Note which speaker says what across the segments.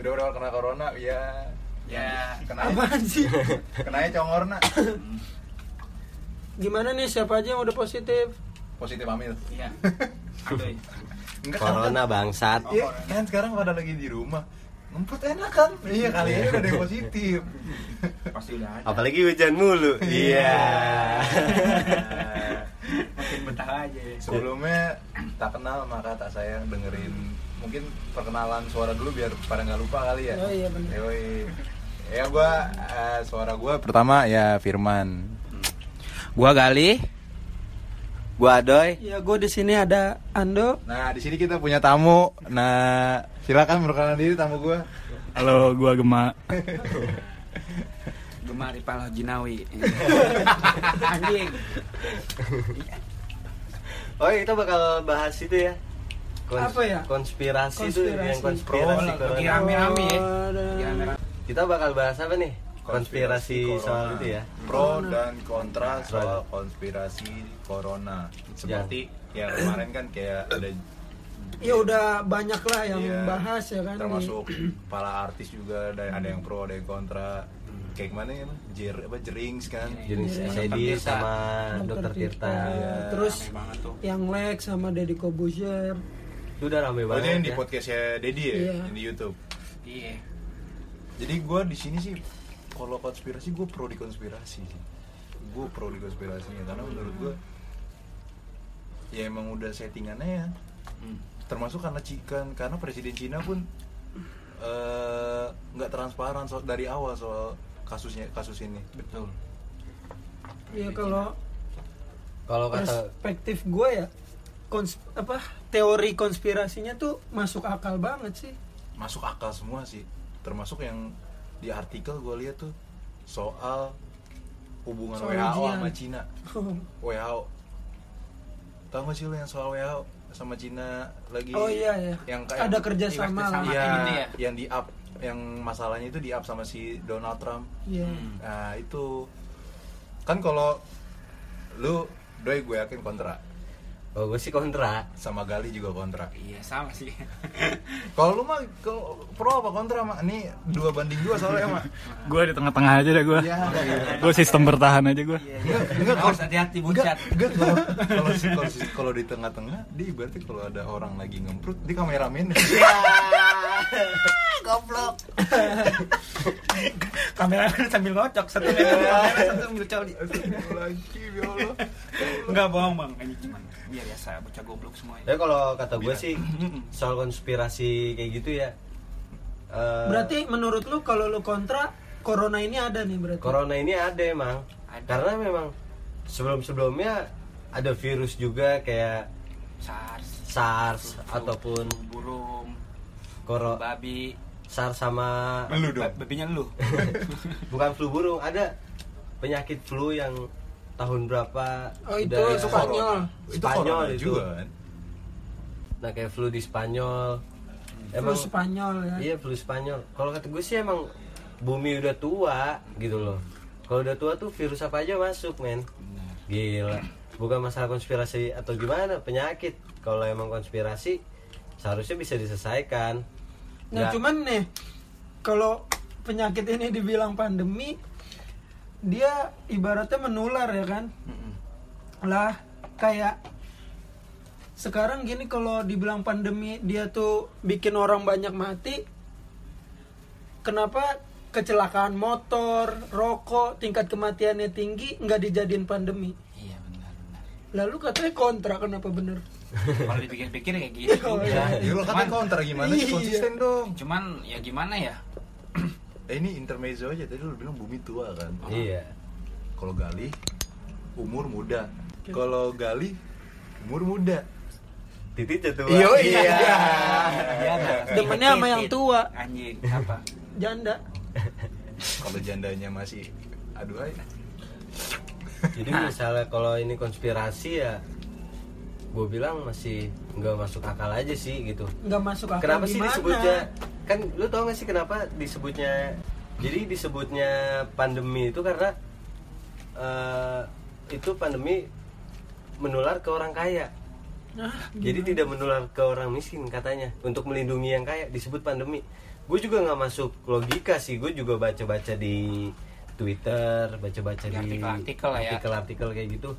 Speaker 1: udah udah kena corona ya
Speaker 2: Ya.
Speaker 1: kena
Speaker 3: Iya. Apaan sih?
Speaker 1: kena congor nak
Speaker 3: Gimana nih siapa aja yang udah positif?
Speaker 1: positif amil
Speaker 2: Iya. Aduh.
Speaker 1: enggak
Speaker 4: Corona bangsat.
Speaker 1: kan, iya, kan sekarang pada lagi di rumah ngempet enak kan iya kali ini udah ada yang positif
Speaker 2: Pasti udah ada.
Speaker 4: Apalagi hujan mulu. Iya.
Speaker 2: Makin betah aja.
Speaker 1: sebelumnya tak kenal maka tak sayang dengerin mungkin perkenalan suara dulu biar pada nggak lupa kali ya
Speaker 3: Oh, iya, bener.
Speaker 1: Yoi. ya gua eh, suara gua pertama ya Firman
Speaker 4: Gua Gali. Gua Adoy.
Speaker 3: Ya gue di sini ada Ando.
Speaker 1: nah di sini kita punya tamu nah silakan perkenalan diri tamu gua
Speaker 5: Halo, gua Gema.
Speaker 2: Gemari Palo Jinawi. Anjing.
Speaker 4: Oh, kita bakal bahas itu ya.
Speaker 3: Apa ya?
Speaker 4: Konspirasi, tuh
Speaker 3: Konspirasi.
Speaker 4: yang konspirasi
Speaker 2: Corona,
Speaker 4: corona.
Speaker 2: lagi rame-rame ya.
Speaker 3: Ada-
Speaker 2: Lagi rame-rame.
Speaker 4: Kita bakal bahas apa nih? Konspirasi,
Speaker 1: Konspirasi
Speaker 4: soal
Speaker 1: corona.
Speaker 4: itu ya.
Speaker 1: pro dan kontra soal konspirasi corona seperti ya kemarin kan kayak ada
Speaker 3: Ya udah banyak lah yang
Speaker 1: Iya,
Speaker 3: bahas ya kan.
Speaker 1: termasuk para artis juga ada ada yang pro ada yang kontra kayak gimana ya Mas? jer apa jerings kan
Speaker 4: Jenis
Speaker 1: Dokter
Speaker 4: SID
Speaker 1: Tirta.
Speaker 4: sama
Speaker 3: Dokter
Speaker 4: Dokter
Speaker 3: Tirta.
Speaker 4: Tirta.
Speaker 1: Iya.
Speaker 3: Eh, Terus
Speaker 2: Rame banget tuh.
Speaker 3: yang Lex sama Deddy Kobuzier.
Speaker 4: Itu udah rame
Speaker 1: Oh, itu yang di
Speaker 4: banget. ya.
Speaker 1: podcastnya Dedi ya
Speaker 3: Iya.
Speaker 1: yang di YouTube
Speaker 2: Iya.
Speaker 1: jadi gue di sini sih kalau konspirasi gue pro di konspirasi sih gue pro di konspirasinya karena menurut gue ya emang udah settingannya ya
Speaker 2: Hmm.
Speaker 1: termasuk karena Cikan karena presiden Cina pun eh, nggak transparan soal dari awal soal kasusnya kasus ini
Speaker 2: Betul.
Speaker 3: Ya kalau
Speaker 4: Kalau kata
Speaker 3: perspektif gue ya kons apa teori konspirasinya tuh masuk akal banget sih.
Speaker 1: masuk akal semua sih termasuk yang di artikel gue lihat tuh soal hubungan
Speaker 3: Soal
Speaker 1: WHO
Speaker 3: ujian.
Speaker 1: sama Cina WHO tau gak sih lo yang soal WHO sama Cina lagi
Speaker 3: Oh iya ya.
Speaker 1: yang kayak gitu.
Speaker 3: Ada kerjasama lah.
Speaker 2: kerjasama.
Speaker 1: Iya,
Speaker 2: Gitu ya?
Speaker 1: yang di up yang masalahnya itu di up sama si Donald Trump
Speaker 3: Iya.
Speaker 2: Hmm.
Speaker 1: Nah itu kan kalau lu doi gue yakin kontra
Speaker 4: Oh, gue sih kontra.
Speaker 1: sama Gali juga kontra.
Speaker 2: Iya sama sih.
Speaker 1: Kalau lu mah kalau pro apa kontra mak? Ini dua banding dua soalnya mak.
Speaker 5: Gua di tengah-tengah aja dah gua.
Speaker 1: Iya.
Speaker 5: Gua sistem bertahan aja gua.
Speaker 1: Enggak,
Speaker 2: Awas hati-hati
Speaker 1: Enggak,
Speaker 2: bucat.
Speaker 1: enggak kalau kalau si- kalau si- kalau di tengah-tengah, dia berarti kalau ada orang lagi ngemprut, dia kameramen.
Speaker 2: Goblok. Kamera sambil ngocok satu meter satu sambil coli.
Speaker 1: lagi, ya Allah.
Speaker 2: Enggak bohong bang, ini cuman biar biasa bocah goblok semuanya.
Speaker 4: Ya kalau kata gue sih soal konspirasi kayak gitu ya. eh,
Speaker 3: Berarti menurut lu kalau lu kontra corona ini ada nih berarti.
Speaker 4: Corona ini ada emang.
Speaker 2: Ada.
Speaker 4: Karena memang sebelum-sebelumnya ada virus juga kayak
Speaker 2: SARS,
Speaker 4: SARS ataupun
Speaker 2: burung,
Speaker 4: koro
Speaker 2: babi,
Speaker 4: SARS sama
Speaker 1: Lu dong.
Speaker 2: Ba- babinya lu.
Speaker 4: bukan flu burung, ada penyakit flu yang tahun berapa
Speaker 3: Oh, itu
Speaker 4: udah-
Speaker 1: Itu
Speaker 3: Spanyol.
Speaker 1: corona. Itu
Speaker 4: Spanyol
Speaker 1: corona
Speaker 4: itu.
Speaker 1: juga kan.
Speaker 4: Nah, kayak flu di Spanyol.
Speaker 3: Flu Spanyol ya.
Speaker 4: Iya flu Spanyol. Kalau kata gue sih emang bumi udah tua gitu loh. Kalau udah tua tuh virus apa aja masuk men. Gila. Bukan masalah konspirasi atau gimana penyakit. Kalau emang konspirasi seharusnya bisa diselesaikan.
Speaker 3: Nah,
Speaker 4: Nggak-
Speaker 3: cuman nih kalau penyakit ini dibilang pandemi dia ibaratnya menular ya kan? Lah kayak sekarang gini kalau dibilang pandemi dia tuh bikin orang banyak mati. Kenapa kecelakaan motor, rokok, tingkat kematiannya tinggi nggak dijadiin pandemi?
Speaker 2: Iya benar benar.
Speaker 3: Lalu katanya kontra kenapa bener?
Speaker 2: Kalau dipikir-pikir kayak gitu. juga.
Speaker 1: Ya lu katanya
Speaker 2: Cuman,
Speaker 1: kontra gimana sih
Speaker 3: Iya.
Speaker 1: konsisten dong.
Speaker 2: cuman ya gimana ya?
Speaker 1: Eh, ini intermezzo aja tadi lu bilang bumi tua kan.
Speaker 4: Iya.
Speaker 1: Kalau Gali umur muda. Kalau Gali umur muda.
Speaker 4: Titik jatuh.
Speaker 1: iya.
Speaker 2: Iya.
Speaker 3: Demennya sama yang tua.
Speaker 2: Anjing, apa?
Speaker 3: Janda.
Speaker 1: Kalau jandanya masih aduh ay.
Speaker 4: Jadi misalnya kalau ini konspirasi ya gue bilang masih nggak masuk akal aja sih gitu.
Speaker 3: nggak masuk akal
Speaker 4: Kenapa sih
Speaker 3: gimana?
Speaker 4: disebutnya? Kan lu tau gak sih kenapa disebutnya? Jadi disebutnya pandemi itu karena eh, itu pandemi menular ke orang kaya.
Speaker 3: Nah,
Speaker 4: Jadi tidak menular ke orang miskin katanya. Untuk melindungi yang kaya disebut pandemi. Gue juga nggak masuk logika sih. Gue juga baca-baca di Twitter, baca-baca
Speaker 2: Di
Speaker 4: di
Speaker 2: artikel-artikel lah ya.
Speaker 4: artikel-artikel kayak gitu.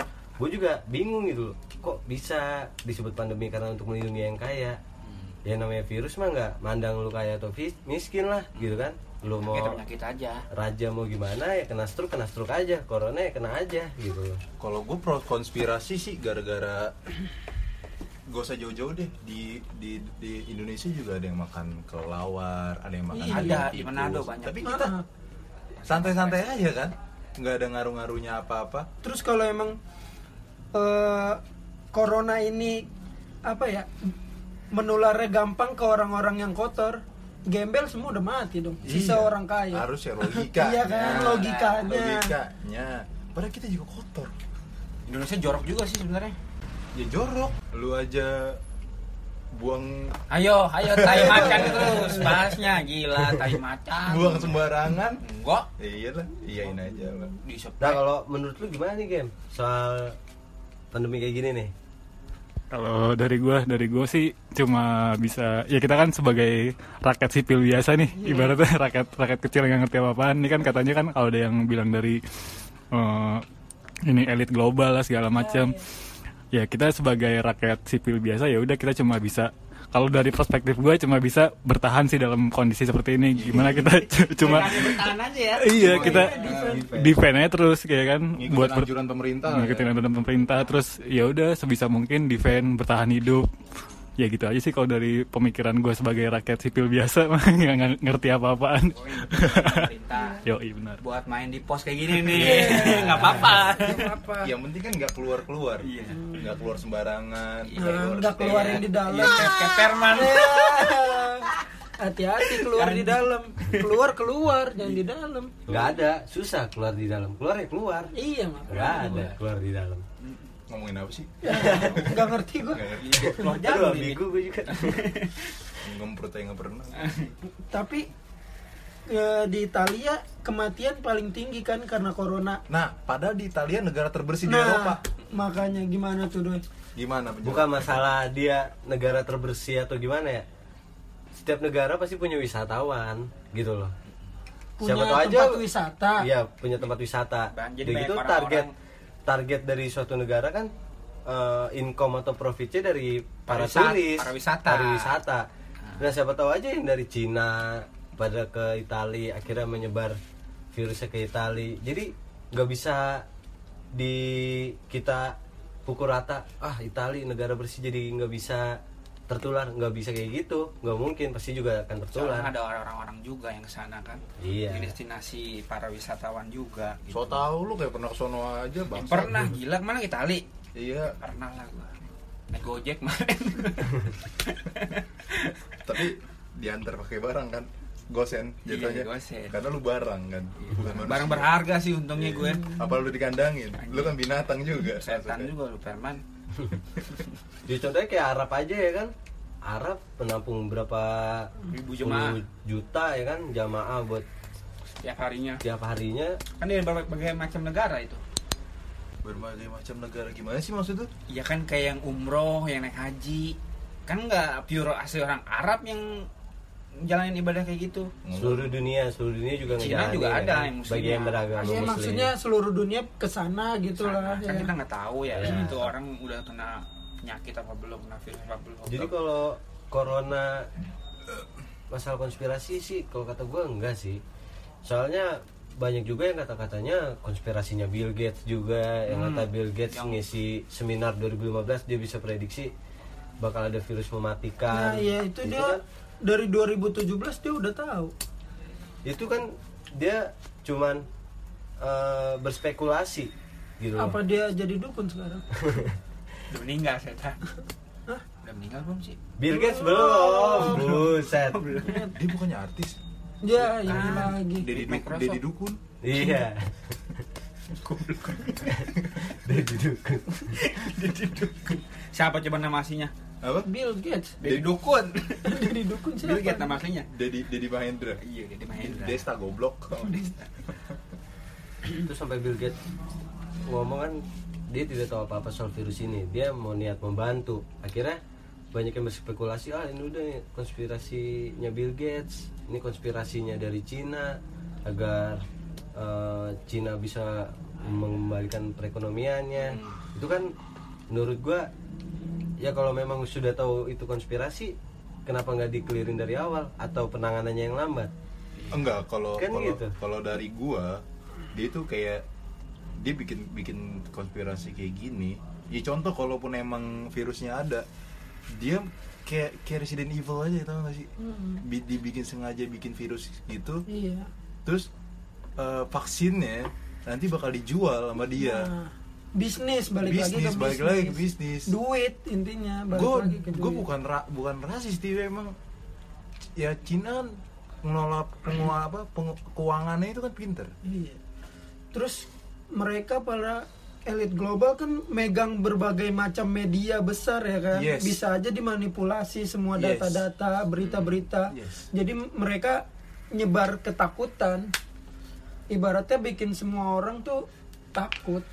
Speaker 4: Gue juga bingung gitu loh. Kok bisa disebut pandemi karena untuk melindungi yang kaya?
Speaker 2: Hmm.
Speaker 4: Ya namanya virus mah nggak mandang lu kaya atau fi- miskin lah
Speaker 2: Hmm.
Speaker 4: gitu kan. Lu mau
Speaker 2: Kita penyakit aja.
Speaker 4: raja mau gimana ya kena stroke kena stroke aja corona ya kena aja gitu loh
Speaker 1: Kalau gue pro konspirasi sih gara-gara gak usah jauh-jauh deh di, di di Indonesia juga ada yang makan kelawar, ada yang makan
Speaker 2: Iya,
Speaker 1: ayam
Speaker 2: ada, di
Speaker 1: tikus.
Speaker 2: Manado banyak.
Speaker 1: Tapi kita santai-santai aja kan, nggak ada ngaruh-ngaruhnya apa-apa.
Speaker 3: Terus kalau emang eh, corona ini apa ya menularnya gampang ke orang-orang yang kotor, gembel semua udah mati dong. Sisa
Speaker 1: Iya,
Speaker 3: orang kaya.
Speaker 1: Harus ya logika.
Speaker 3: iya kan logikanya. Iya,
Speaker 1: Logikanya. Padahal kita juga kotor.
Speaker 2: Indonesia jorok juga sih sebenarnya.
Speaker 1: Ya jorok. Lu aja buang
Speaker 2: Ayo, ayo tai macan terus bahasnya gila tai macan.
Speaker 1: buang sembarangan.
Speaker 2: Enggak.
Speaker 1: Ya iyalah, iyain aja. Bang.
Speaker 2: Di sep-
Speaker 4: nah kalau menurut lu gimana nih game soal pandemi kayak gini nih
Speaker 5: Kalau dari gua, dari gua sih cuma bisa ya kita kan sebagai rakyat sipil biasa nih, ibaratnya rakyat rakyat kecil yang nggak ngerti apa-apaan. Ini kan katanya kan kalau ada yang bilang dari eh, ini elit global lah segala macam. Ya kita sebagai rakyat sipil biasa ya udah kita cuma bisa kalau dari perspektif gua cuma bisa bertahan sih dalam kondisi seperti ini. Gimana kita c- cuma
Speaker 3: Tahan aja ya.
Speaker 5: iya kita defend aja terus kayak kan
Speaker 1: Ngikutin
Speaker 5: buat ber-
Speaker 1: anjuran pemerintah.
Speaker 5: ngikutin
Speaker 1: ya.
Speaker 5: aturan pemerintah terus ya udah sebisa mungkin defend bertahan hidup ya gitu aja sih kalau dari pemikiran gue sebagai rakyat sipil biasa mah, nggak nggak ngerti apa-apaan
Speaker 2: pemerintah
Speaker 5: yo iya benar
Speaker 2: buat main di pos kayak gini nih.
Speaker 3: Iya.
Speaker 2: Enggak apa-apa.
Speaker 3: Apa?
Speaker 1: Yang penting kan nggak keluar keluar, nggak keluar sembarangan,
Speaker 3: Nah, nggak keluarin
Speaker 1: ya.
Speaker 3: di dalam.
Speaker 2: Iya, kayak- kayak perman.
Speaker 3: Iya. Hati-hati keluar di dalam. Keluar keluar jangan di dalam.
Speaker 4: nggak ada susah keluar di dalam keluar ya keluar
Speaker 3: Iya mak.
Speaker 4: nggak ada keluar di dalam
Speaker 1: Ngomongin apa sih?
Speaker 3: Iya. Nggak ngerti gua.
Speaker 1: Nggak ngerti.
Speaker 2: Keluar
Speaker 4: Aduh,
Speaker 2: jalan ini.
Speaker 4: ambigu gue juga
Speaker 1: Ngemprut aja nggak pernah.
Speaker 3: Tapi eh, di Italia kematian paling tinggi kan karena corona.
Speaker 1: Nah, padahal di Italia negara terbersih di
Speaker 3: nah,
Speaker 1: Eropa.
Speaker 3: makanya gimana tuh doi?
Speaker 1: Gimana? penjelasan?
Speaker 4: bukan masalah dia negara terbersih atau gimana ya setiap negara pasti punya wisatawan gitu loh
Speaker 3: Punya
Speaker 4: tahu
Speaker 3: tempat wisata.
Speaker 4: iya punya tempat wisata
Speaker 2: Bang, jadi
Speaker 4: Udah
Speaker 2: banyak
Speaker 4: gitu
Speaker 2: orang-orang-
Speaker 4: target target dari suatu negara kan eh, income atau profitnya dari para
Speaker 2: Pariwisata-
Speaker 4: turis
Speaker 2: pariwisata.
Speaker 4: pariwisata. nah siapa tahu aja yang dari Cina pada ke Italia akhirnya menyebar virusnya ke Italia jadi nggak bisa di kita pukul rata ah Italia negara bersih jadi nggak bisa tertular nggak bisa kayak gitu nggak mungkin pasti juga akan tertular
Speaker 2: Soalnya ada orang-orang juga yang kesana kan.
Speaker 4: Iya.
Speaker 2: Jadi destinasi para wisatawan juga. gitu. Ya,
Speaker 1: So tau lu kayak pernah ke sono aja bang.
Speaker 2: Pernah gila kemana kita Ali?
Speaker 1: Iya,
Speaker 2: Pernah lah gua. Naik Gojek kemarin.
Speaker 1: tapi diantar pakai barang kan. Gosen
Speaker 2: Iya,
Speaker 1: jatuhnya.
Speaker 2: gosen. Iya,
Speaker 1: Karena lu barang kan. Bukan manusia.
Speaker 2: Barang berharga sih untungnya gue.
Speaker 1: Apa lu dikandangin? Lu kan binatang juga.
Speaker 2: Setan
Speaker 1: maksudnya.
Speaker 2: juga lu Perman.
Speaker 4: Ya contohnya kayak Arab aja ya kan. Arab menampung berapa puluh
Speaker 2: Ribu jemaah.
Speaker 4: juta ya kan jamaah buat
Speaker 2: Setiap harinya.
Speaker 4: tiap harinya.
Speaker 2: Kan dari berbagai macam negara itu.
Speaker 1: Berbagai macam negara gimana sih maksud tuh?
Speaker 2: Ya kan kayak yang umroh, yang naik haji. Kan nggak pure asli orang Arab yang jalanin ibadah kayak gitu.
Speaker 4: Seluruh dunia, seluruh dunia juga
Speaker 2: Cina
Speaker 4: ngejalanin,
Speaker 2: juga
Speaker 4: ya
Speaker 2: ada
Speaker 4: kan?
Speaker 2: yang muslim.
Speaker 4: bagi yang beragama
Speaker 3: Iya,
Speaker 4: muslim.
Speaker 3: maksudnya seluruh dunia ke sana gitu
Speaker 2: Sana.
Speaker 3: lah.
Speaker 2: Kan
Speaker 3: ya.
Speaker 2: kita nggak tahu ya,
Speaker 4: Iya.
Speaker 2: itu orang udah kena penyakit apa belum, kena virus apa belum.
Speaker 4: Jadi kalau corona masalah konspirasi sih kalau kata gue enggak sih. Soalnya banyak juga yang kata-katanya konspirasinya Bill Gates juga
Speaker 3: Hmm.
Speaker 4: yang kata Bill Gates ngisi seminar 2015 dia bisa prediksi bakal ada virus
Speaker 3: Nah,
Speaker 4: mematikan.
Speaker 3: iya itu
Speaker 4: Gitu
Speaker 3: dia
Speaker 4: kan.
Speaker 3: dari 2017 dia udah tahu.
Speaker 4: itu kan dia cuman eh, berspekulasi gitu loh.
Speaker 3: Apa dia jadi dukun sekarang?
Speaker 2: Udah meninggal setan. Udah meninggal belum sih?
Speaker 4: Bill Gates
Speaker 3: Oh,
Speaker 4: belum buset
Speaker 1: Dia bukannya artis.
Speaker 3: Ya, ini lagi.
Speaker 1: Dedi, du-
Speaker 2: Microsoft.
Speaker 1: Dedi Dukun.
Speaker 4: iya Jadi dukun.
Speaker 2: Siapa coba nama aslinya?
Speaker 1: Apa?
Speaker 3: Bill Gates
Speaker 2: Dedi Dukun.
Speaker 3: jadi dukun
Speaker 2: Bill Gates
Speaker 3: siapa?
Speaker 2: nama aslinya.
Speaker 1: Dedi Dedi Mahendra.
Speaker 2: Iya, Dedi Mahendra.
Speaker 1: Desta goblok.
Speaker 4: itu sampai Bill Gates ngomong kan dia tidak tahu apa-apa soal virus ini dia mau niat membantu akhirnya banyak yang berspekulasi ah ini udah nih, konspirasinya Bill Gates ini konspirasinya dari Cina agar eh, Cina bisa mengembalikan perekonomiannya itu kan menurut gua ya kalau memang sudah tahu itu konspirasi kenapa nggak dikelirin dari awal atau penanganannya yang lambat
Speaker 1: enggak kalau
Speaker 4: Kan
Speaker 1: kalau
Speaker 4: gitu.
Speaker 1: kalau dari gua dia tuh kayak dia bikin bikin konspirasi kayak gini ya contoh kalaupun emang virusnya ada dia kayak kayak Resident Evil aja tau gak sih
Speaker 3: Hmm.
Speaker 1: Bi- dibikin sengaja bikin virus gitu
Speaker 3: iya
Speaker 1: terus eh, vaksinnya nanti bakal dijual sama dia
Speaker 3: Nah, bisnis balik
Speaker 1: Iya. bisnis balik
Speaker 3: lagi ke bisnis
Speaker 1: lagi ke bisnis
Speaker 3: duit intinya balik
Speaker 1: gue
Speaker 3: lagi ke
Speaker 1: gue
Speaker 3: duit.
Speaker 1: bukan ra- bukan rasis sih emang ya Cina kan mengelola pengelola apa peng- keuangannya itu kan pinter
Speaker 3: Iya. Terus mereka para elit global kan megang berbagai macam media besar ya kan.
Speaker 1: Yes.
Speaker 3: Bisa aja dimanipulasi semua
Speaker 1: Yes. Mm-hmm.
Speaker 3: data-data, berita-berita.
Speaker 1: Yes.
Speaker 3: Jadi m- mereka nyebar ketakutan. Ibaratnya bikin semua orang tuh takut.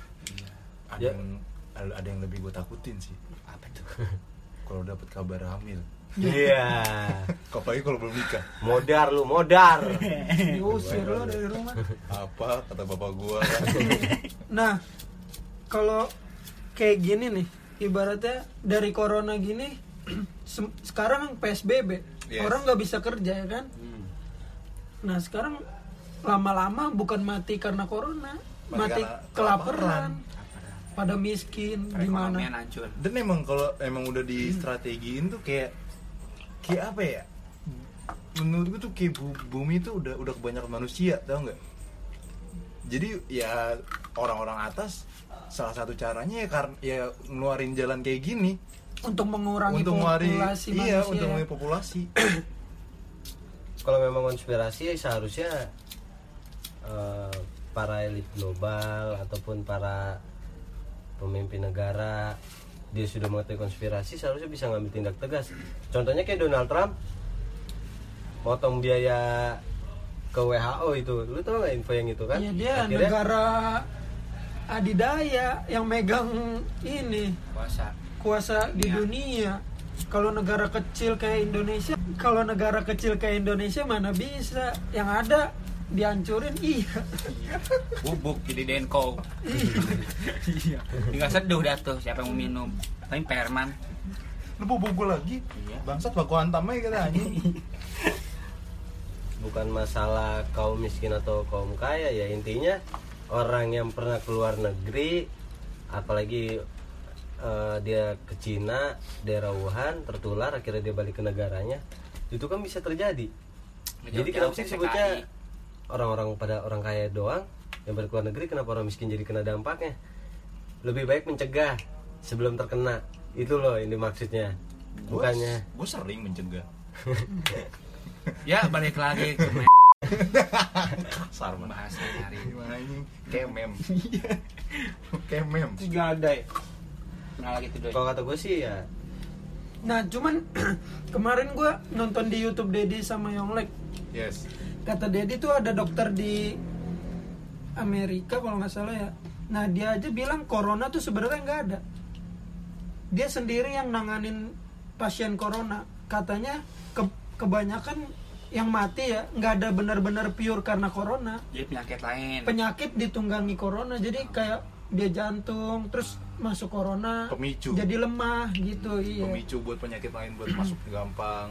Speaker 1: ada
Speaker 4: Ya.
Speaker 1: yang ada ada yang lebih gue takutin sih apa tuh kalau dapat kabar hamil
Speaker 4: iya
Speaker 1: apalagi kalau belum nikah
Speaker 4: modar lu modar
Speaker 3: Diusir lo dari rumah.
Speaker 1: apa kata bapak gue
Speaker 3: Nah, kalau kayak gini nih, ibaratnya dari corona gini sem- sekarang kan PSBB.
Speaker 1: Yes. Hmm.
Speaker 3: Orang nggak bisa kerja ya kan? Nah sekarang lama-lama bukan mati karena corona,
Speaker 1: Mati
Speaker 3: mati,
Speaker 1: karena
Speaker 3: kelaparan,
Speaker 1: kelaparan.
Speaker 3: pada miskin,
Speaker 2: Perekonomian
Speaker 3: gimana?
Speaker 2: hancur.
Speaker 1: dan emang kalau emang udah di strategiin tuh kayak kayak apa ya menurut gue tuh kayak bu- bumi tuh udah udah kebanyakan manusia tau nggak jadi ya orang-orang atas salah satu caranya ya karena ya ngeluarin jalan kayak gini
Speaker 3: Untuk mengurangi
Speaker 1: untuk ngeluarin
Speaker 3: populasi
Speaker 1: iya
Speaker 3: manusia. ya.
Speaker 1: untuk mengurangi populasi
Speaker 4: kalau memang konspirasi seharusnya eh, para elit global ataupun para pemimpin negara dia sudah mengetahui konspirasi seharusnya bisa ngambil tindak tegas contohnya kayak Donald Trump motong biaya ke WHO itu lu tau nggak info yang itu kan
Speaker 3: Iya, dia negara adidaya yang megang ini
Speaker 2: Puasa.
Speaker 3: kuasa di
Speaker 2: Iya.
Speaker 3: dunia. Kalau negara kecil kayak Indonesia, kalau negara kecil kayak Indonesia mana bisa? Yang ada dihancurin iya.
Speaker 2: Bubuk jadi denko. Iya. Tinggal seduh dah tuh siapa yang mau minum. Tapi perman.
Speaker 1: lu bobok gue lagi bangsat baku hantam aja kita anjing
Speaker 4: bukan masalah kaum miskin atau kaum kaya ya intinya orang yang pernah keluar negeri apalagi eh, dia ke Cina daerah Wuhan tertular akhirnya dia balik ke negaranya itu kan bisa terjadi jadi
Speaker 2: Jauh-jauh
Speaker 4: kenapa sih
Speaker 2: PPKI.
Speaker 4: sebutnya orang-orang pada orang kaya doang yang balik luar negeri kenapa orang miskin jadi kena dampaknya lebih baik mencegah sebelum terkena itu loh ini maksudnya bukannya
Speaker 1: gue sering mencegah
Speaker 2: Ya balik lagi ke me-
Speaker 1: kasar banget
Speaker 2: bahasa hari ini.
Speaker 1: Gimana anjing kayak mem Iya. kayak mem
Speaker 3: Iya.
Speaker 2: Terus gak ada ya. Kenal lagi tuh doi.
Speaker 4: kalau kata gue sih ya
Speaker 3: Nah cuman kemarin gua nonton di YouTube Dedi sama Yonglek.
Speaker 1: yes
Speaker 3: Kata Dedi tuh ada dokter di Amerika kalau nggak salah ya. Nah dia aja bilang corona tuh sebenarnya nggak ada. Dia sendiri yang nanganin pasien corona. Katanya ke- kebanyakan yang mati ya nggak ada benar-benar pure karena corona.
Speaker 2: Jadi penyakit lain.
Speaker 3: Penyakit ditunggangi corona jadi kayak dia jantung terus masuk corona
Speaker 1: Pemicu.
Speaker 3: jadi lemah gitu iya
Speaker 1: pemicu buat penyakit lain buat masuk gampang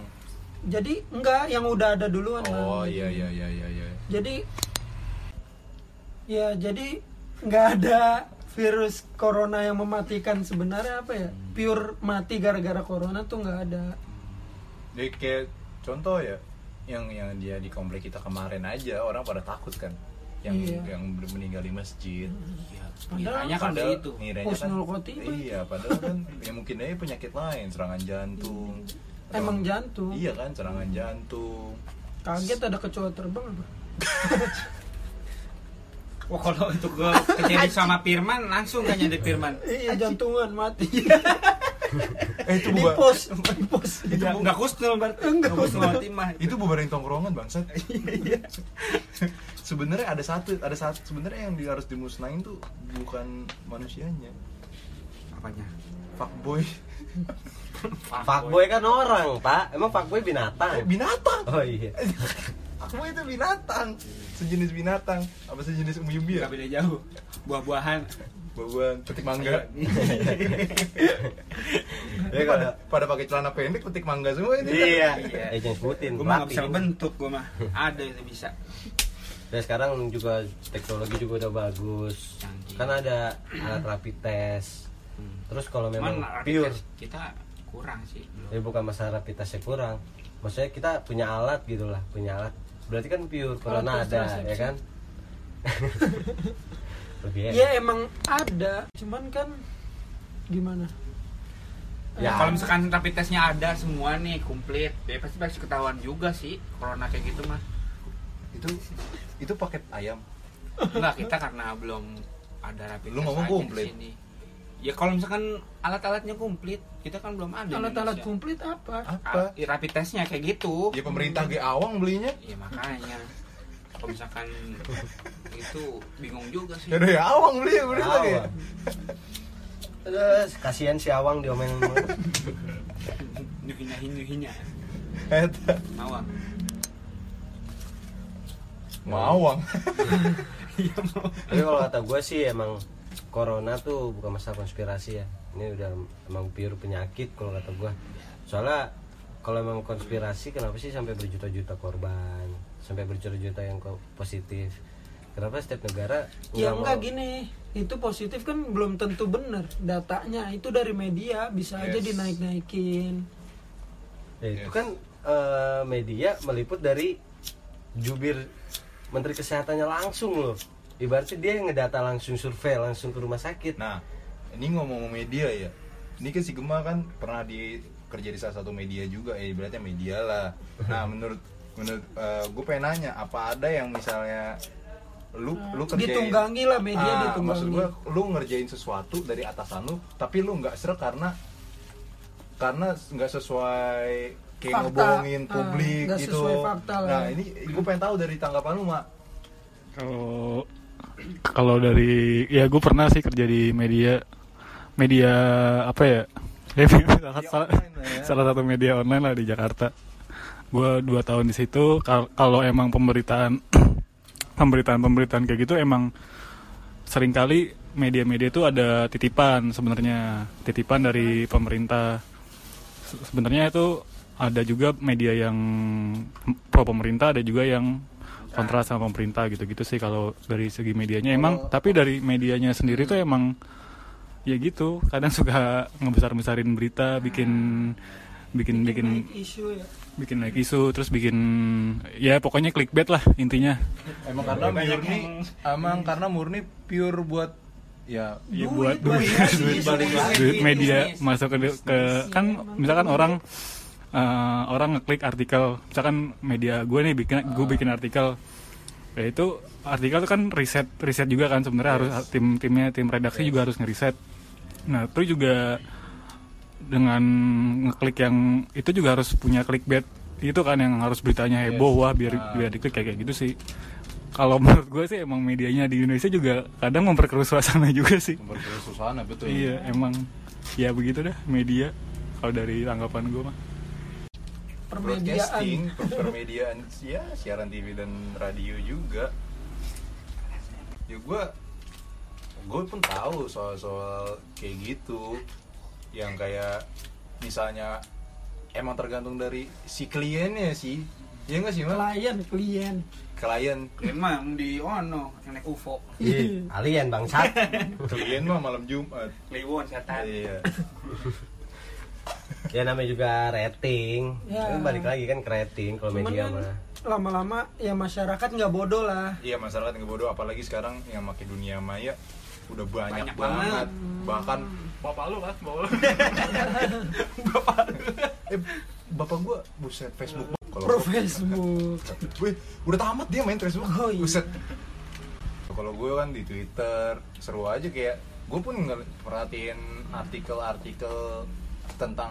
Speaker 3: jadi enggak yang udah ada duluan
Speaker 1: oh
Speaker 3: Bang.
Speaker 1: iya iya iya iya iya
Speaker 3: jadi ya jadi nggak ada virus corona yang mematikan sebenarnya apa ya pure mati gara-gara corona tuh nggak ada
Speaker 1: jadi kayak contoh ya yang yang dia di komplek kita kemarin aja orang pada takut kan yang
Speaker 3: Iya.
Speaker 1: yang meninggal di masjid Iya.
Speaker 3: Ya
Speaker 2: Ngiranya kan udah
Speaker 1: Padahal Iya.
Speaker 2: itu.
Speaker 1: ngiranya
Speaker 3: Husnul khotimah.
Speaker 1: iya padahal kan ya mungkin aja penyakit lain serangan jantung atau-
Speaker 3: emang jantung
Speaker 1: iya kan serangan jantung
Speaker 3: kaget ada kecoa terbang apa?
Speaker 2: Wah kalau itu gue kejadian sama Firman langsung kayaknya di Firman.
Speaker 3: iya jantungan mati
Speaker 1: eh itu
Speaker 3: di
Speaker 1: bubar
Speaker 3: pos di pos
Speaker 2: Itu nggak kusnul berarti.
Speaker 3: Nggak
Speaker 2: kusnul
Speaker 3: kusnul.
Speaker 2: timah.
Speaker 1: itu bubarin tongkrongan bangsat iya. sebenarnya ada satu ada satu sebenarnya yang di- harus dimusnahin tuh bukan manusianya
Speaker 2: apanya
Speaker 1: fuckboy
Speaker 4: Fuckboy kan orang, Pak. Emang fuckboy binatang.
Speaker 1: Eh, binatang
Speaker 4: Oh iya.
Speaker 1: fuckboy itu binatang sejenis binatang apa sejenis umbi-umbi ya
Speaker 2: nggak beda jauh buah-buahan
Speaker 1: bawa petik mangga
Speaker 4: Iya, Ya,
Speaker 1: Ini pada pada pakai celana pendek petik mangga semua ini
Speaker 4: Iya. Eh jangan sebutin.
Speaker 2: gue mah nggak
Speaker 4: Mati.
Speaker 2: bisa bentuk gue mah ada itu bisa
Speaker 4: Dan sekarang juga teknologi juga udah bagus.
Speaker 2: Canggih.
Speaker 4: Kan ada alat rapid test. Terus kalau Hmm. memang
Speaker 2: cuman rapid
Speaker 4: pure,
Speaker 2: test kita kurang sih belum.
Speaker 4: ya bukan masalah rapid testnya kurang. Maksudnya kita punya alat gitu lah, punya alat. Berarti kan pure corona
Speaker 3: tes
Speaker 4: ada,
Speaker 3: resepsi.
Speaker 4: ya kan? Lebih
Speaker 2: Iya,
Speaker 4: enak.
Speaker 3: ya emang ada cuman kan gimana
Speaker 4: Ya.
Speaker 2: Nah, kalau misalkan rapid testnya ada semua nih komplit ya pasti pasti ketahuan juga sih corona kayak gitu mah
Speaker 1: itu itu paket ayam
Speaker 2: Enggak, kita karena belum ada rapid
Speaker 1: Lu
Speaker 2: test
Speaker 1: ngomong
Speaker 2: aja di
Speaker 1: komplit.
Speaker 2: sini. Ya kalau misalkan alat-alatnya komplit, kita kan belum ada. di
Speaker 3: alat-alat
Speaker 2: Indonesia.
Speaker 3: komplit apa
Speaker 2: Ah,
Speaker 1: apa
Speaker 2: ya, rapid testnya kayak gitu.
Speaker 1: ya pemerintah ge awang belinya
Speaker 2: Ya makanya. Kalau misalkan itu bingung juga sih.
Speaker 1: ya udah ya awang beli pemerintah ya
Speaker 4: Awang. Terus kasihan si Awang diomelin mulu.
Speaker 2: Nyuhinya nyuhinya.
Speaker 1: Eta.
Speaker 2: Mawang.
Speaker 1: mawang
Speaker 2: Iya mau.
Speaker 4: Tapi kalau kata gue sih emang corona tuh bukan masalah konspirasi ya. Ini udah emang pure penyakit kalau kata gue. Soalnya kalau emang konspirasi kenapa sih sampai berjuta-juta korban, sampai berjuta-juta yang ko- positif? Kenapa setiap negara
Speaker 3: ya
Speaker 4: nggak
Speaker 3: enggak
Speaker 4: mau-
Speaker 3: gini itu positif kan belum tentu bener datanya itu dari media bisa aja
Speaker 1: Yes.
Speaker 3: dinaik-naikin
Speaker 4: Ya, itu
Speaker 1: Yes.
Speaker 4: kan eh, media meliput dari jubir menteri kesehatannya langsung loh. Ibaratnya dia yang ngedata langsung survei langsung ke rumah sakit.
Speaker 1: nah ini ngomong media ya ini kan si Gema kan pernah di kerja di salah satu media juga ya berarti media lah nah menurut menurut gue pengen nanya apa ada yang misalnya lu lu kerjain
Speaker 3: Ditunggangi lah, media
Speaker 1: Ah,
Speaker 3: ditunggangi.
Speaker 1: maksud gue lu ngerjain sesuatu dari atasan lu tapi lu nggak serak karena karena nggak sesuai kayak
Speaker 3: Fakta.
Speaker 1: ngebohongin
Speaker 3: Ah,
Speaker 1: publik
Speaker 3: nggak
Speaker 1: gitu
Speaker 3: sesuai fakta lah.
Speaker 1: nah ini gue pengen tahu dari tanggapan lu mak
Speaker 5: Kalau kalau dari ya gue pernah sih kerja di media media apa ya? Ya, salah, salah,
Speaker 1: online lah ya.
Speaker 5: salah satu media online lah di Jakarta. Gue dua tahun di situ. Kal- Kalau emang pemberitaan pemberitaan pemberitaan kayak gitu emang seringkali media-media itu ada titipan sebenarnya titipan dari pemerintah Se- sebenarnya itu ada juga media yang pro pemerintah ada juga yang kontra sama pemerintah gitu-gitu sih kalau dari segi medianya emang tapi dari medianya sendiri tuh emang ya gitu kadang suka ngebesar-besarin berita bikin bikin bikin
Speaker 3: naik isu ya
Speaker 5: bikin naik isu terus bikin ya pokoknya clickbait lah intinya
Speaker 1: Emang karena murni, emang karena murni pure buat ya
Speaker 5: ya
Speaker 3: Duit,
Speaker 5: buat
Speaker 3: Iya, buat
Speaker 5: duit,
Speaker 3: bisnis,
Speaker 5: duit,
Speaker 1: balik lagi.
Speaker 5: Iya, duit media
Speaker 2: Bisnis.
Speaker 5: masuk ke, ke kan misalkan orang eh, orang ngeklik artikel misalkan media gue nih bikin gue bikin artikel ya itu artikel itu kan riset riset juga kan sebenarnya harus tim timnya tim redaksi juga harus ngeriset nah itu juga dengan ngeklik yang itu juga harus punya clickbait itu kan yang harus beritanya heboh wah biar
Speaker 1: Ah.
Speaker 5: biar diklik kayak kayak gitu sih kalau menurut gue sih emang medianya di Indonesia juga kadang memperkeruh suasana juga sih
Speaker 1: memperkeruh suasana nah, betul.
Speaker 5: Iya emang ya begitu dah media kalau dari tanggapan gue mah.
Speaker 3: permediaan
Speaker 1: Broadcasting, per- permediaan, ya siaran TV dan radio juga. Ya gue, gue pun tahu soal-soal kayak gitu, yang kayak misalnya emang tergantung dari si kliennya sih, ya nggak sih Mak?
Speaker 3: klien klien
Speaker 1: Klien,
Speaker 2: Emang di ono yang naik UFO,
Speaker 4: Ih, alien bangsat.
Speaker 1: klien mah malam Jumat.
Speaker 2: Kliwon setan.
Speaker 1: Iya.
Speaker 4: ya namanya juga rating
Speaker 3: Ya.
Speaker 4: Kan balik lagi kan ke rating kalau
Speaker 3: cuman
Speaker 4: media
Speaker 3: kan
Speaker 4: mah
Speaker 3: lama-lama ya masyarakat nggak bodoh lah
Speaker 1: Iya masyarakat yang bodoh apalagi sekarang yang pakai dunia maya udah banyak,
Speaker 2: Banyak
Speaker 1: banget. Hmm.
Speaker 2: banget.
Speaker 1: Bahkan bapak lu lah, bapak lu. eh, bapak gua buset Facebook. Kalau
Speaker 3: pro Facebook
Speaker 1: Wih, udah tamat dia main Facebook.
Speaker 3: Oh, iya.
Speaker 1: Buset. Kalau gue kan di Twitter seru aja kayak gue pun ngel- perhatiin artikel-artikel tentang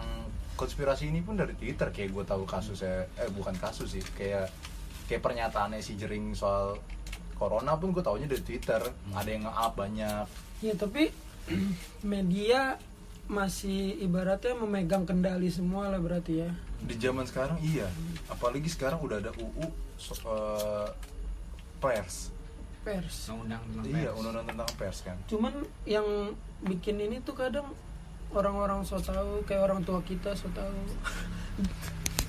Speaker 1: konspirasi ini pun dari Twitter kayak gue tahu kasusnya eh bukan kasus sih kayak kayak pernyataannya si Jering soal corona pun
Speaker 3: Hmm.
Speaker 1: gue taunya dari Twitter ada yang nge-up banyak
Speaker 3: ya tapi Iya, media masih ibaratnya memegang kendali semua lah berarti ya
Speaker 1: di zaman sekarang iya apalagi sekarang udah ada UU so- eh, pers
Speaker 3: Hmm, pers
Speaker 2: undang tentang
Speaker 1: iya
Speaker 2: pers.
Speaker 1: undang-undang tentang pers kan
Speaker 3: cuman yang bikin ini tuh kadang orang-orang so tahu kayak orang tua kita so tahu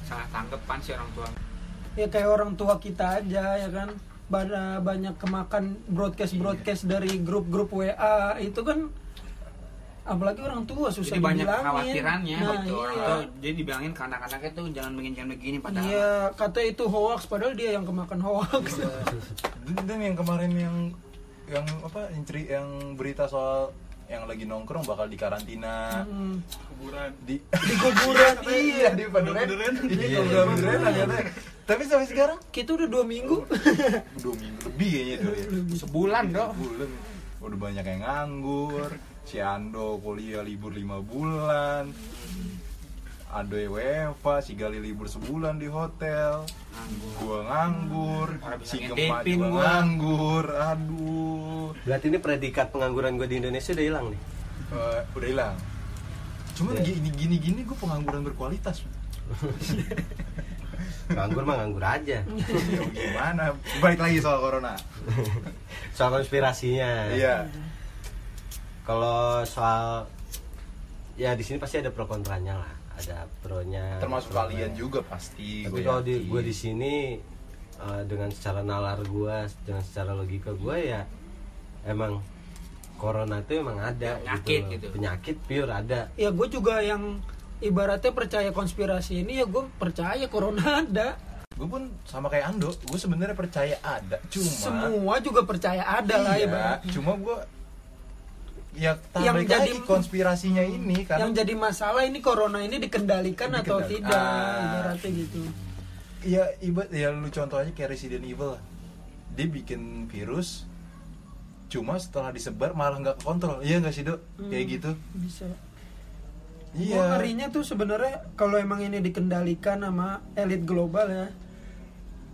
Speaker 2: salah tanggapan si orang tua
Speaker 3: ya kayak orang tua kita aja ya kan Ba- banyak kemakan broadcast broadcast dari grup-grup WA itu kan apalagi orang tua susah
Speaker 2: jadi banyak
Speaker 3: dibilangin.
Speaker 2: khawatirannya
Speaker 3: Nah,
Speaker 2: gitu orang
Speaker 3: iya.
Speaker 2: tua jadi dibilangin ke anak-anaknya tuh jangan begini jangan begini padahal
Speaker 3: Iya, kata itu hoax padahal dia yang kemakan hoax.
Speaker 1: dan, dan yang kemarin yang yang apa yang, ceri- yang berita soal yang lagi nongkrong bakal dikarantina
Speaker 2: Mm-hmm.
Speaker 3: Hmm.
Speaker 1: di
Speaker 3: Di kuburan iya.
Speaker 1: di Panduren iya di Panduren katanya. tapi sampai sekarang
Speaker 3: Kita udah dua minggu.
Speaker 1: dua minggu lebih kayaknya dulu ya
Speaker 2: sebulan dong
Speaker 1: bulan udah banyak yang nganggur si Ando kuliah libur lima bulan Ando WFA, si Gali libur sebulan di hotel gua nganggur
Speaker 2: Orang bisa
Speaker 1: si Gemma
Speaker 2: ngedepin
Speaker 1: juga
Speaker 2: gua.
Speaker 1: nganggur aduh
Speaker 4: Berarti ini predikat pengangguran gue di Indonesia udah hilang nih.
Speaker 1: Eh, udah hilang cuman
Speaker 4: Ya.
Speaker 1: gini gini gini gue pengangguran berkualitas
Speaker 4: Nganggur mah nganggur aja.
Speaker 1: Ya, gimana balik lagi soal corona
Speaker 4: Soal konspirasinya.
Speaker 1: iya
Speaker 4: Kalau soal ya di sini pasti ada pro kontranya lah. Ada pronya.
Speaker 1: termasuk
Speaker 4: pro
Speaker 1: kalian
Speaker 4: kontranya.
Speaker 1: juga Iya, pasti
Speaker 4: Tapi
Speaker 1: gua
Speaker 4: kalau di
Speaker 1: yakin.
Speaker 4: gue di sini eh, dengan secara nalar gue, dengan secara logika gue ya emang corona itu emang ada
Speaker 2: Penyakit
Speaker 4: loh.
Speaker 2: gitu.
Speaker 4: Penyakit pure ada.
Speaker 3: ya gue juga yang ibaratnya percaya konspirasi ini ya gue percaya corona ada.
Speaker 1: gue pun sama kayak Ando gue sebenarnya percaya ada cuma
Speaker 3: Semua juga percaya ada lah
Speaker 1: Iya,
Speaker 3: ibarat.
Speaker 1: cuma gue ya
Speaker 3: Yang
Speaker 1: yang
Speaker 3: jadi-
Speaker 1: jadi konspirasinya ini
Speaker 3: Yang
Speaker 1: karena
Speaker 3: jadi masalah ini corona ini dikendalikan, atau
Speaker 1: Dikendalikan.
Speaker 3: tidak
Speaker 1: Ah.
Speaker 3: ibaratnya gitu.
Speaker 1: ya iba ya lu contoh aja kayak Resident Evil lah. dia bikin virus cuma setelah disebar malah nggak kontrol iya nggak sih dok
Speaker 3: Hmm.
Speaker 1: kayak gitu
Speaker 3: Bisa. Iya.
Speaker 1: iya
Speaker 3: ngerinya tuh sebenarnya kalau emang ini dikendalikan sama elit global ya.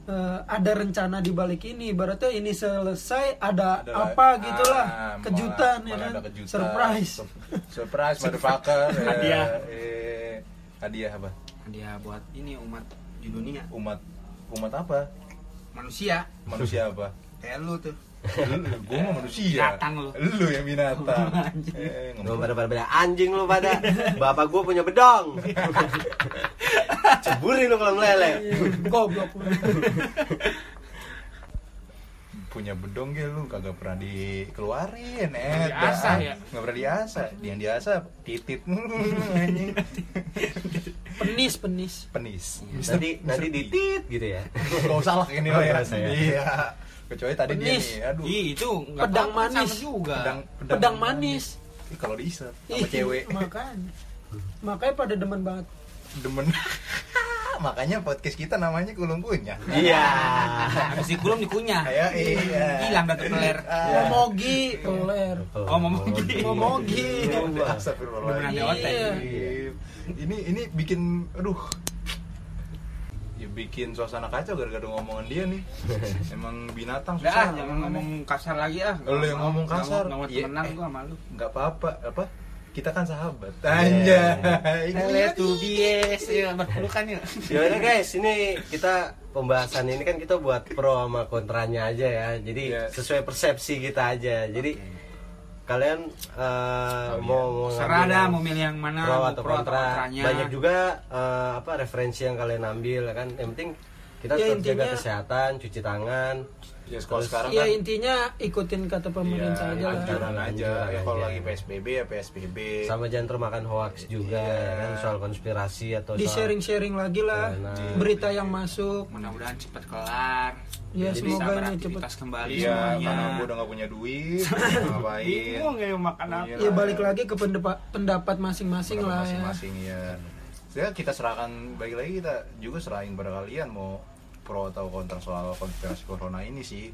Speaker 3: eh, ada rencana di balik ini ibaratnya ini selesai ada,
Speaker 1: Ada
Speaker 3: apa
Speaker 1: lah.
Speaker 3: gitulah
Speaker 1: Ah,
Speaker 3: kejutan
Speaker 1: malah- malah
Speaker 3: ya
Speaker 1: ada
Speaker 3: kan
Speaker 1: kejutan.
Speaker 3: surprise
Speaker 1: Sur- surprise motherfucker Ya,
Speaker 2: Hadiah.
Speaker 1: eh, hadiah apa
Speaker 2: dia buat ini umat di dunia
Speaker 1: umat umat apa
Speaker 2: manusia
Speaker 1: manusia apa
Speaker 2: kayak lu tuh
Speaker 1: gue mau manusia
Speaker 2: Binatang lu.
Speaker 1: lu yang binatang eh,
Speaker 4: Lu
Speaker 1: ngomong
Speaker 4: pada pada pada anjing lu pada. Bapak gue punya bedong. Ceburin lu kalau
Speaker 1: Iya.
Speaker 4: meleleh.
Speaker 3: goblok lu.
Speaker 1: punya bedong ya lu kagak pernah dikeluarin eh
Speaker 2: Nggak diasah ya?
Speaker 1: nggak pernah diasah yang diasah titit anjing
Speaker 3: penis penis
Speaker 1: penis
Speaker 4: Nanti nanti ditit gitu ya.
Speaker 1: nggak usah lah ini lah ya
Speaker 4: Nggak usah ya.
Speaker 1: iya kecuali tadi dia
Speaker 3: Penis.
Speaker 1: nih Ya, aduh
Speaker 2: Ih, itu nggak
Speaker 3: Pedang
Speaker 2: apa-apa,
Speaker 3: manis.
Speaker 2: sama juga
Speaker 3: pedang, manis,
Speaker 1: Ih, kalau diiset sama
Speaker 3: Ih,
Speaker 1: cewek
Speaker 3: makanya makanya pada demen banget
Speaker 1: demen makanya podcast kita namanya kulung punya
Speaker 4: Iya.
Speaker 2: Nah, habis dikulum dikunyah
Speaker 1: Ayo, iya. Ah,
Speaker 2: hilang dah tuh peler
Speaker 3: momogi toler
Speaker 2: Oh, ngomogi.
Speaker 1: gitu.
Speaker 3: Ngomogi.
Speaker 4: Wah.
Speaker 2: Beneran
Speaker 1: Iya. Astagfirullahaladzim
Speaker 2: lewat
Speaker 3: Iya.
Speaker 1: Iya. ini ini bikin aduh ya bikin suasana kacau gara-gara ngomongan dia nih emang binatang
Speaker 2: Udah, ah,
Speaker 1: susah
Speaker 2: jangan ngomong kasar lagi ah.
Speaker 1: Lu yang ngomong kasar.
Speaker 2: Enggak mau
Speaker 1: Iya,
Speaker 2: temenan
Speaker 1: eh.
Speaker 2: gua sama lu.
Speaker 1: nggak apa-apa apa kita kan sahabat anjay
Speaker 2: bies, ya berpelukan yuk.
Speaker 4: Gimana Ya guys, ini kita pembahasan ini kan kita buat pro sama kontranya aja ya. Jadi
Speaker 1: Iya.
Speaker 4: sesuai persepsi kita aja. Jadi kalian eh, mau mau ngambil
Speaker 2: Serah dah
Speaker 4: yang
Speaker 2: mau milih yang mana,
Speaker 4: pro
Speaker 2: mau
Speaker 4: atau
Speaker 2: pro atau
Speaker 4: kontra.
Speaker 2: kontranya.
Speaker 4: Banyak juga eh, apa referensi yang kalian ambil ya kan. Yang penting kita
Speaker 3: Ya,
Speaker 4: tetap jaga
Speaker 3: intinya-
Speaker 4: kesehatan, cuci tangan.
Speaker 1: ya sekolah
Speaker 2: Iya,
Speaker 1: sekarang
Speaker 3: ya
Speaker 1: kan
Speaker 3: intinya ikutin kata
Speaker 1: ya,
Speaker 3: pemerintah aja lah
Speaker 1: anjuran aja ya
Speaker 3: Iya,
Speaker 4: Anjuran
Speaker 1: kalau
Speaker 4: aja.
Speaker 1: lagi psbb ya psbb
Speaker 4: Sama jangan termakan hoax juga ya kan
Speaker 2: Iya.
Speaker 4: soal konspirasi atau
Speaker 3: di
Speaker 4: soal
Speaker 3: sharing sharing lagi lah
Speaker 4: Nah.
Speaker 3: berita yang masuk
Speaker 2: Mudah-mudahan cepat kelar.
Speaker 3: Ya, semoga
Speaker 2: Jadi bisa
Speaker 3: ini
Speaker 2: beraktivitas kembali
Speaker 1: iya
Speaker 2: semuanya.
Speaker 1: karena gue udah nggak punya duit
Speaker 3: Iya,
Speaker 1: ngapain
Speaker 2: Bingung ya makan apa.
Speaker 3: ya balik lagi ke pendepa- pendapat masing-masing lah ya
Speaker 1: masing-masing ya. Ya kita serahkan balik lagi kita juga serahin pada kalian mau pro atau kontra soal konspirasi corona ini sih.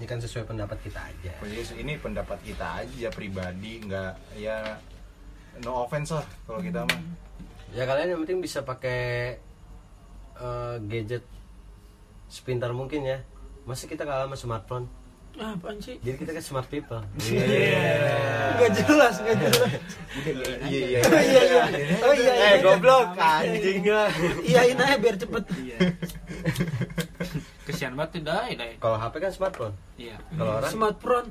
Speaker 4: ini kan sesuai pendapat kita aja.
Speaker 1: Jadi ini pendapat kita aja pribadi nggak ya no offense lah kalau kita mah.
Speaker 4: Ya kalian yang penting bisa pakai eh, gadget sepintar mungkin ya. Masih kita kalah sama smartphone.
Speaker 3: Ah, apaan sih?
Speaker 4: Jadi kita kan smart people. Iya.
Speaker 3: Iya. Gak jelas, gak jelas.
Speaker 1: Udah iya iya.
Speaker 3: Oh iya iya. Oh iya iya.
Speaker 4: Eh goblok anjing lah.
Speaker 3: Iyain aja biar cepet.
Speaker 2: Iya. Kesian banget tuh dai dai.
Speaker 4: Kalau HP kan smartphone.
Speaker 2: Iya.
Speaker 4: Kalau orang
Speaker 3: Smart front.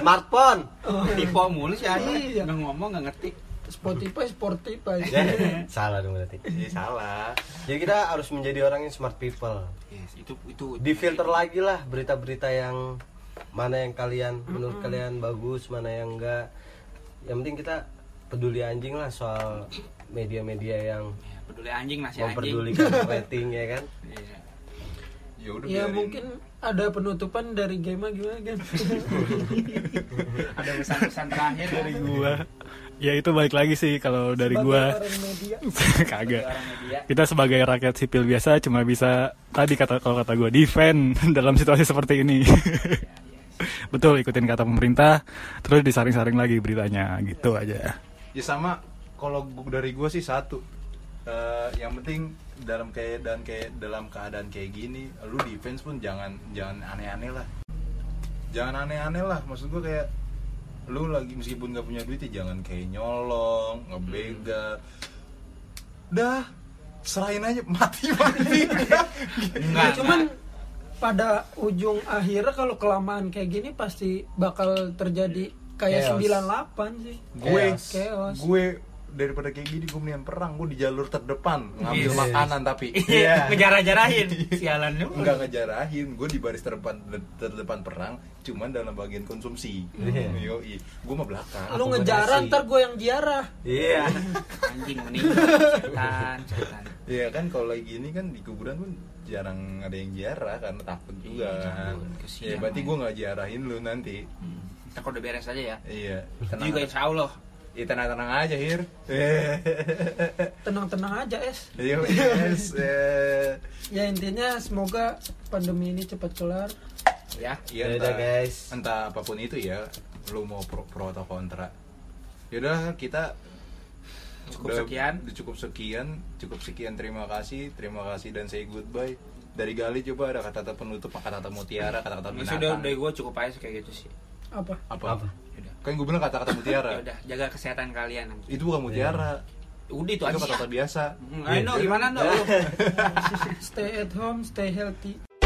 Speaker 4: smartphone.
Speaker 3: Oh,
Speaker 2: Tipe mulu sih aja.
Speaker 3: Iya.
Speaker 2: Nggak ngomong nggak ngerti.
Speaker 3: Spotify, Spotify.
Speaker 4: Ya, salah dong berarti.
Speaker 1: Iya salah.
Speaker 4: Jadi kita harus menjadi orang yang smart people.
Speaker 2: Yes, itu itu
Speaker 4: Difilter lagi lah berita-berita yang mana yang kalian menurut kalian bagus, mana yang enggak. Yang penting kita peduli anjing lah soal media-media yang
Speaker 2: Ya, peduli anjing lah si anjing.
Speaker 4: memperdulikan rating ya kan.
Speaker 2: Iya.
Speaker 1: Ya udah
Speaker 3: Ya
Speaker 1: biarin.
Speaker 3: mungkin ada penutupan dari game gimana game?
Speaker 2: Ada pesan-pesan terakhir dari
Speaker 5: gua ya itu balik lagi sih kalau dari gua
Speaker 3: Sebagai orang media.
Speaker 5: kagak
Speaker 2: orang media.
Speaker 5: kita sebagai rakyat sipil biasa cuma bisa tadi kata kalau kata gua defend dalam situasi seperti ini betul ikutin kata pemerintah terus disaring-saring lagi beritanya gitu aja
Speaker 1: Ya sama kalau gu- dari gue sih satu. Eh, yang penting dalam kayak dan kayak dalam keadaan kayak gini, lu defense pun jangan jangan aneh-aneh lah. Jangan aneh-aneh lah, maksud gue kayak lu lagi meskipun gak punya duit ya jangan kayak nyolong, ngebegal. Dah, serahin aja mati mati.
Speaker 2: Enggak.
Speaker 1: Nah,
Speaker 3: Ya, cuman
Speaker 2: Cuman
Speaker 3: pada ujung akhirnya kalau kelamaan kayak gini pasti bakal terjadi kayak
Speaker 4: Chaos.
Speaker 3: 98 sih.
Speaker 1: gue
Speaker 3: chaos.
Speaker 1: gue daripada kayak gini gue mendingan perang gue di jalur terdepan ngambil
Speaker 2: Yes.
Speaker 1: makanan tapi
Speaker 2: Iya, ngejarah-jarahin sialan lu.
Speaker 1: nggak ngejarahin gue di baris terdepan terdepan perang cuman dalam bagian konsumsi
Speaker 4: Iya.
Speaker 1: Yoi. gue mah belakang
Speaker 3: Lu
Speaker 4: Akomodasi.
Speaker 3: ngejaran ntar gue yang ziarah.
Speaker 4: Iya.
Speaker 2: Anjing meninggal, setan, setan.
Speaker 1: Iya kan kalau lagi gini kan di kuburan pun jarang ada yang ziarah karena takut juga
Speaker 2: Iya,
Speaker 1: kan.
Speaker 2: takut.
Speaker 1: ya
Speaker 2: Kesian,
Speaker 1: berarti
Speaker 2: man.
Speaker 1: gue nggak ziarahin lu nanti
Speaker 2: Kita kalau udah beres aja ya.
Speaker 1: iya
Speaker 2: Itu
Speaker 1: tenang
Speaker 2: juga insya Allah.
Speaker 1: Iya, tenang-tenang aja hir
Speaker 3: Tenang-tenang aja, Es.
Speaker 1: Iya, yes, eh.
Speaker 3: Ya intinya semoga pandemi ini cepat kelar.
Speaker 2: Ya.
Speaker 1: Iya,
Speaker 4: Yaudah,
Speaker 1: entah-
Speaker 4: guys.
Speaker 1: Entah apapun itu ya, lu mau pro, pro atau kontra. Yaudah kita
Speaker 2: Cukup
Speaker 1: udah-
Speaker 2: sekian.
Speaker 1: udah cukup sekian, cukup sekian. Terima kasih, terima kasih dan say goodbye. Dari Gali coba ada kata-kata penutup, kata-kata mutiara, kata-kata
Speaker 2: Ya sudah,
Speaker 1: binatang.
Speaker 2: udah gue cukup aja kayak gitu sih.
Speaker 3: Apa?
Speaker 1: Apa?
Speaker 4: Apa?
Speaker 2: Yaudah.
Speaker 1: Kan gue bilang kata-kata mutiara.
Speaker 2: Ya udah, jaga kesehatan kalian.
Speaker 1: itu bukan mutiara.
Speaker 2: Udah itu
Speaker 1: Itu
Speaker 2: aja.
Speaker 1: kata-kata biasa. Iya.
Speaker 2: Hmm, Ayo, Noh, gimana Noh?
Speaker 3: Stay at home, stay healthy.